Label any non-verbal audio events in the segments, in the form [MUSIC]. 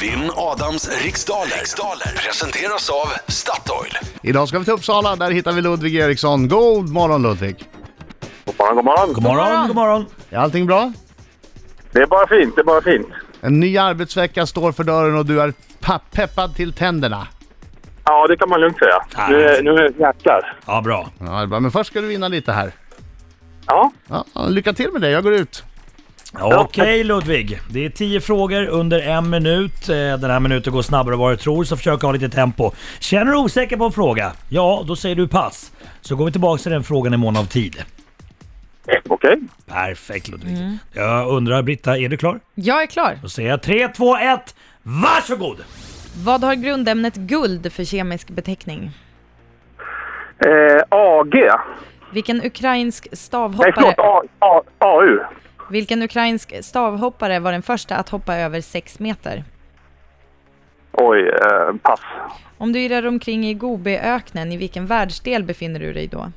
Vinn Adams riksdaler. riksdaler presenteras av Statoil. Idag ska vi till Uppsala, där hittar vi Ludvig Eriksson. God morgon Ludvig! God morgon, god morgon. God morgon, god morgon. Är allting bra? Det är bara fint, det är bara fint. En ny arbetsvecka står för dörren och du är pa- peppad till tänderna. Ja, det kan man lugnt säga. Ja. Nu, nu jäklar. Ja, bra. Ja, det är bra. Men först ska du vinna lite här. Ja, Ja, lycka till med det, jag går ut. Okej Ludvig, det är tio frågor under en minut. Eh, Den här minuten går snabbare än vad du tror, så försök ha lite tempo. Känner du osäker på en fråga? Ja, då säger du pass. Så går vi tillbaka till den frågan i mån av tid. okej. Perfekt Ludvig. Jag undrar, Britta, är du klar? Jag är klar. Då säger jag 3, 2, 1, varsågod! Vad har grundämnet guld för kemisk beteckning? Eh, AG. Vilken ukrainsk Nej, förlåt. stavhoppare, A, A, AU. vilken ukrainsk stavhoppare var den första att hoppa över 6 meter? Oj, eh, pass. Om du irrar omkring i Gobiöknen, i vilken världsdel befinner du dig då?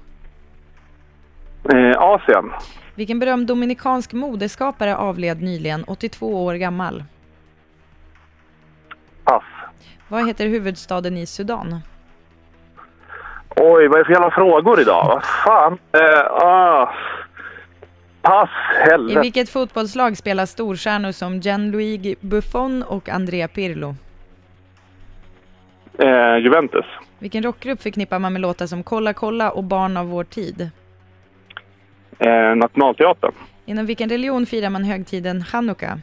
Eh, Asien. Vilken berömd dominikansk modeskapare avled nyligen, 82 år gammal? Pass. Vad heter huvudstaden i Sudan? Oj, vad är det för jävla frågor idag? Vad fan? Eh, ah. Pass, I helvete. vilket fotbollslag spelar storstjärnor som Gianluigi Buffon och Andrea Pirlo? Eh, Juventus. Vilken rockgrupp förknippar man med låtar som Kolla kolla och Barn av vår tid? Eh, Nationalteatern. Inom vilken religion firar man högtiden Chanukka?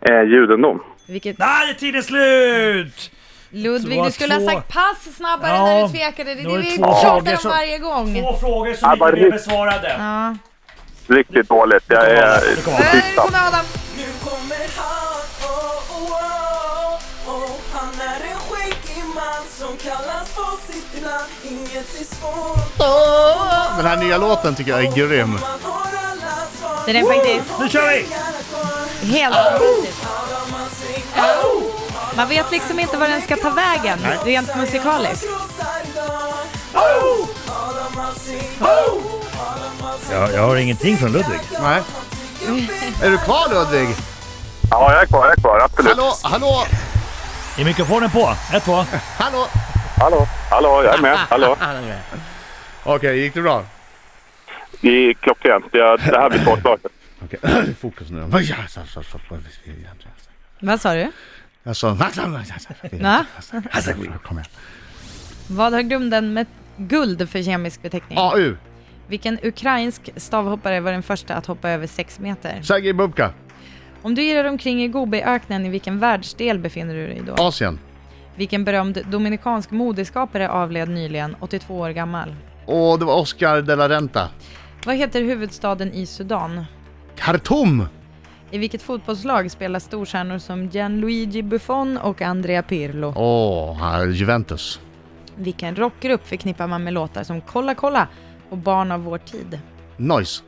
Eh, judendom. Vilket... Där är tiden slut! Ludvig, Två, du skulle två. ha sagt pass snabbare Ja, när du tvekade. Det är då är det det vi två tjatar frågor om som- varje gång. Två frågor som Ja, inte bara blev ri- besvarade. Ja. Riktigt dåligt. Jag är... Där kommer Adam! Nu kommer han, oh, oh, oh, oh. Han är en skäggig man som kallas på sitt namn Inget är svårt Den här nya låten tycker jag är grym. Man har alla svar Den är faktiskt Nu kör vi! Pengarna kvar, helt fantastisk. alla man svingar Man vet liksom inte var den ska ta vägen, rent musikaliskt. Jag, jag hör ingenting från Ludvig. Nej. Mm. Är du kvar Ludvig? Ja, jag är kvar, jag är kvar. Absolut. Hallå, hallå, Är mikrofonen på? 1, 2. hallå! Hallå, hallå, jag är med. Hallå. Okej, gick det bra? Det är klockrent. Jag- Det här blir svårt lag. [LAUGHS] Okej, fokus nu. Vad sa du? Alltså, Va? kom igen. Vad har grunden med guld för kemisk beteckning? AU, Vilken ukrainsk stavhoppare var den första att hoppa över 6 meter? Sergej Bubka, Om du irrar omkring i Gobiöknen, i vilken världsdel befinner du dig då? Asien. Vilken berömd dominikansk modeskapare avled nyligen, 82 år gammal? Och det var Oscar de la Renta. Vad heter huvudstaden i Sudan? Khartoum! I vilket fotbollslag spelar storstjärnor som Gianluigi Buffon och Andrea Pirlo? Åh, här, Juventus. Vilken rockgrupp förknippar man med låtar som Kolla kolla och Barn av vår tid? Noise.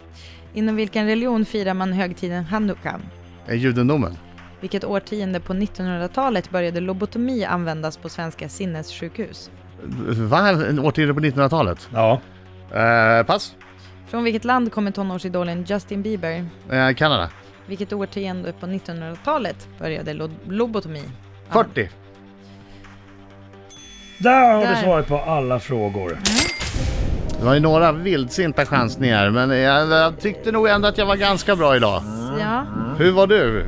Inom vilken religion firar man högtiden Hanukka? Är judendomen. Vilket årtionde på 1900-talet började lobotomi användas på svenska sinnessjukhus? Va? En årtionde på 1900-talet? Ja. Eh, pass. Från vilket land kommer tonårsidolen Justin Bieber? Eh, Kanada. Vilket årtionde på 1900-talet började lo- lobotomi? 40. Där har Där. du svaret på alla frågor. Det var ju några vildsinta chansningar, men jag, jag tyckte nog ändå att jag var ganska bra idag. Ja. Hur var du,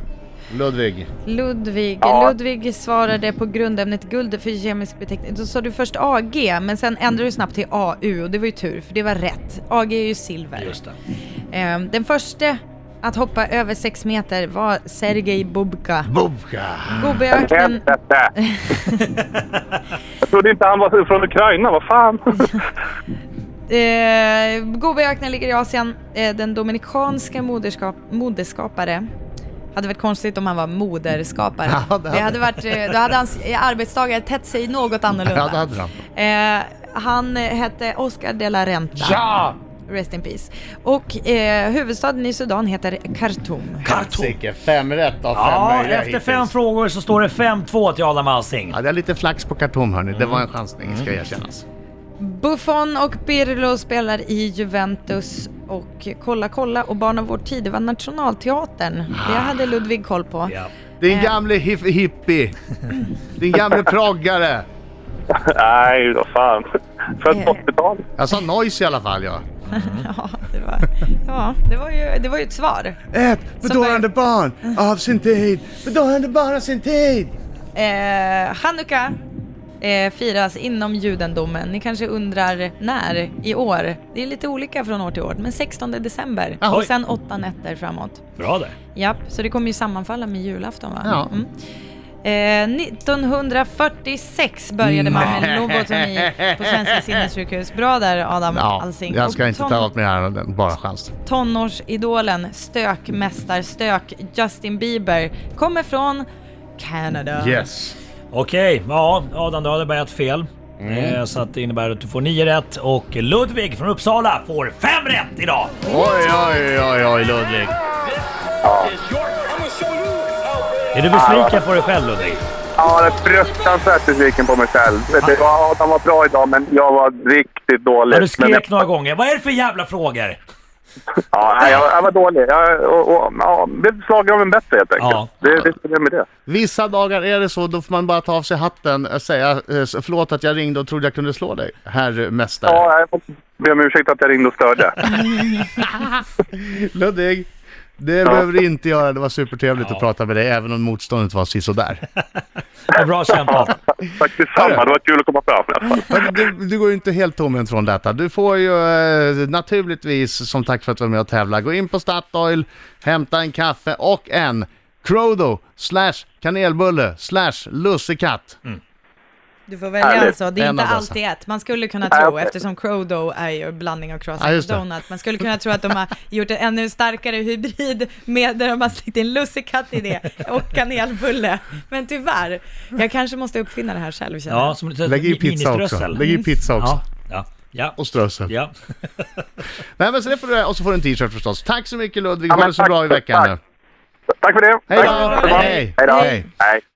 Ludvig? Ludvig. Ja. Ludvig svarade på grundämnet guld för kemisk beteckning. Då sa du först AG, men sen ändrade du snabbt till AU och det var ju tur för det var rätt. AG är ju silver. Just det. Ehm, Den första att hoppa över sex meter var Sergej Bubka. Bubka! [LAUGHS] Gobiöknen Helvete! jag trodde inte han var från Ukraina, vad [LAUGHS] fan? Eh, Gobiöknen ligger i Asien. Eh, den dominikanska moderskap, moderskapare. Hade varit konstigt om han var moderskapare. Ja, det hade- hade varit, eh, då hade hans eh, arbetstagare tätt sig något Ja, det annorlunda. hade han. Eh, han eh, hette Oscar de la Renta. Ja! Rest in peace. Och eh, huvudstaden i Sudan heter Khartoum. Helsike, fem rätt av fem Ja, möjliga efter hittills. fem frågor så står det 5-2 till Adam Alsing. Ja, det är lite flax på Khartoum hörni. Det Mm. var en chansning, ska erkännas. Buffon och Pirlo spelar i Juventus och Kolla kolla och Barn av vår tid, det var Nationalteatern. Det hade Ludvig koll på. Ja. Din gamle hif- hippie. Din gamle proggare. Nej, vad fan. Född på Eh. 80-talet. Jag sa noise i alla fall ja. [LAUGHS] Ja, det var, ja, det var, ju, det var ju ett svar. Ett bedårande barn av sin tid. Bedårande barn av sin tid. Eh, Hanukka eh, firas inom judendomen. Ni kanske undrar när i år? Det är lite olika från år till år, men 16 december Jaha. och sen åtta nätter framåt. Bra där. Japp, så det kommer ju sammanfalla med julafton va? Ja. Mm. Eh, 1946 började man Mm. med lobotomi [LAUGHS] på Svenska sinnessjukhus. Bra där Adam Ja, Alsing. jag ska Och inte ton- ta åt mig här den bara chans. Tonårsidolen, stökmästarstök Justin Bieber kommer från Canada. Yes. Okej, ja Adam du hade börjat fel. Mm. Eh, Så att det innebär att du får nio rätt och Ludvig från Uppsala får fem rätt idag! Oj, oj, oj, oj Ludvig. Är du besviken på dig själv Ludvig? Ja, jag är fruktansvärt besviken på mig själv. Det var, Adam var bra idag, men jag var riktigt dålig. Ja, du Men skrek jag, några gånger. Vad är det för jävla frågor? ja, nej, jag, jag var dålig. Jag och, och, ja, blev slagen av en bättre helt enkelt. Ja. Det, det är problem med det. Vissa dagar är det så, då får man bara ta av sig hatten och säga eh, förlåt att jag ringde och trodde jag kunde slå dig, herr mästare. Ja, jag får be om ursäkt att jag ringde och [LAUGHS] störde. Ludvig, det behöver du inte göra. Det var supertrevligt att prata med dig, även om motståndet var sisådär. Vad bra kämpat! [LAUGHS] Faktiskt samma. Det var kul att komma fram i alla fall. Men Du, du går ju inte helt tomhänt från detta. Du får ju eh, naturligtvis, som tack för att du var med och tävla, gå in på Statoil, hämta en kaffe och en Crodo slash kanelbulle slash lussekatt. Mm. Du får välja Härligt. alltså, det är En inte av dessa. alltid ett. Man skulle kunna Nej, tro, okej. eftersom Crodo är ju en blandning av Ja, croissant just och det. donut, man skulle kunna tro att [LAUGHS] de har gjort en ännu starkare hybrid med där de har släckt in lussekatt i det och kanelbulle. Men tyvärr, jag kanske måste uppfinna det här själv känner Ja, jag. som Lägg i pizza också. ministrössel. Lägg i pizza också. Mm. Ja, ja, ja. Och strössel. ja. Nej men så det får du göra. och så får du en t-shirt förstås. Tack så mycket Ludvig, Ja, ha men det så tack, bra i veckan tack. nu. Tack för det. Hej Tack. då! Hej då. Hej! Hej då. Hej. Hej.